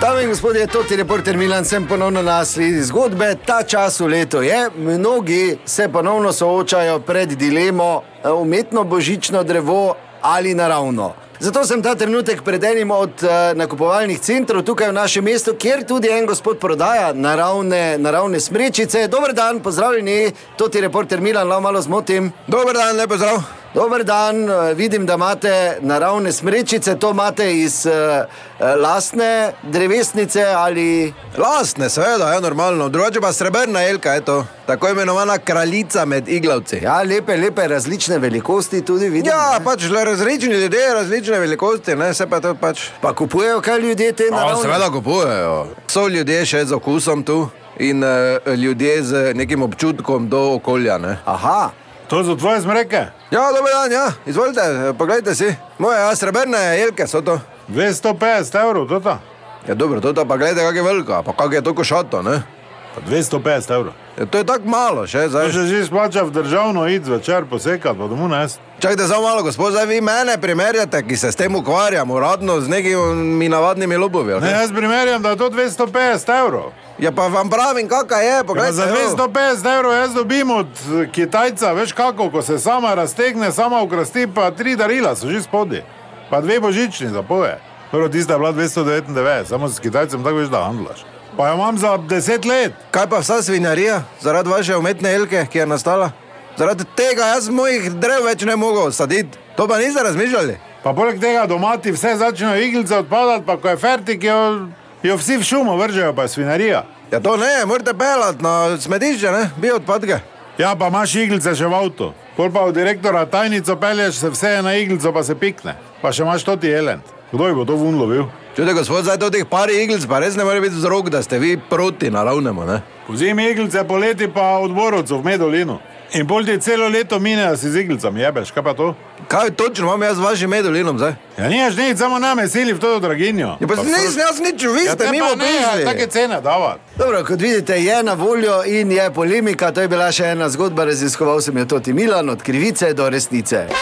Dame in gospodje, to je reporter Milan, sem ponovno na sledi zgodbe. Ta čas v letu je, mnogi se ponovno soočajo pred dilemo eh, umetno božično drevo ali naravno. Zato sem ta trenutek pred enim od eh, nakupovalnih centrov tukaj v našem mestu, kjer tudi en gospod prodaja naravne, naravne smrečice. Dober dan, pozdravljeni, to je reporter Milan, lahko malo zmotim. Dober dan, lepo zdrav. Dober dan, eh, vidim, da imate naravne smrečice, to imate iz uh, lastne drevesnice ali. Lastne, seveda, je normalno, drugače pa srebrna jelka je to, tako imenovana kraljica med iglavci. Ja, Ja, lepe, lepe različne velikosti tudi vidim. ja ne? pač le različni ljudje, različne velikosti, ne, se pa to pač. pa kupujejo kaj ljudje te Ja, naravne. seveda kupujejo. So ljudje še z okusom tu in uh, ljudje z nekim občutkom do okolja. Ne. Aha, To so tvoje zmreke. Ja, dober dan, ja, izvolite, eh, poglejte si. Moje ja, srebrne jelke so to. 250 evrov, to ta. Ja, dobro, to ta pa gledajte, kak je velika, pa kak je to košato, ne. Pa 250 evrov. Ja, to je tako malo še zdaj. To še že splača v državno id zvečer posekati, pa domu nas. Čakajte samo malo, gospod, zdaj vi mene primerjate, ki se s tem ukvarjam, uradno z nekimi navadnimi lobovi. ali Ne, kaj? jaz primerjam, da je to 250 evrov. Ja, pa vam pravim, kakaj je, Ja, pa poglejte. za evo. 250 evrov jaz dobim od eh, Kitajca, veš kako, ko se sama raztegne, sama ukrasti, pa tri darila so že spodaj. Pa dve božični zapoje. Prvo tista je bila 299, samo s Kitajcem tako veš, da handlaš. Pa jo imam za 10 let. Kaj pa vsa svinjarija, zaradi vaše umetne elke, ki je nastala? Zaradi tega jaz mojih drev več ne mogel saditi. To pa niste razmišljali. Pa poleg tega domati vse začnejo iglice odpadati, pa ko je fertik, jo, jo vsi v šumo vržejo, pa je svinarija. Ja, to ne, morate pelat na smetišče, ne, bi odpadke. Ja, pa imaš iglice še v avtu. Pol pa v direktora tajnico pelješ, se vse je na iglico, pa se pikne. Pa še imaš toti elend. Kdo je bo to vun lovil? Čujte, gospod, zdaj to teh par iglic, pa res ne more biti vzrok, da ste vi proti naravnemu, ne. Pozimi iglice, poleti pa odborovcev v Medolinu. In bolj ti celo leto mine, da si z iglicami jebeš, kaj pa to? Kaj točno imam jaz z vašim medolinom zdaj? Ja, nimaš nič, samo name sili v to draginjo. Ja, Ja, pa nisem jaz nič, vi ste mimo prišli. Take cene davati. dobro, kot vidite, je na voljo in je polemika. To je bila še ena zgodba, raziskoval sem jo tudi Milan, od krivice do resnice.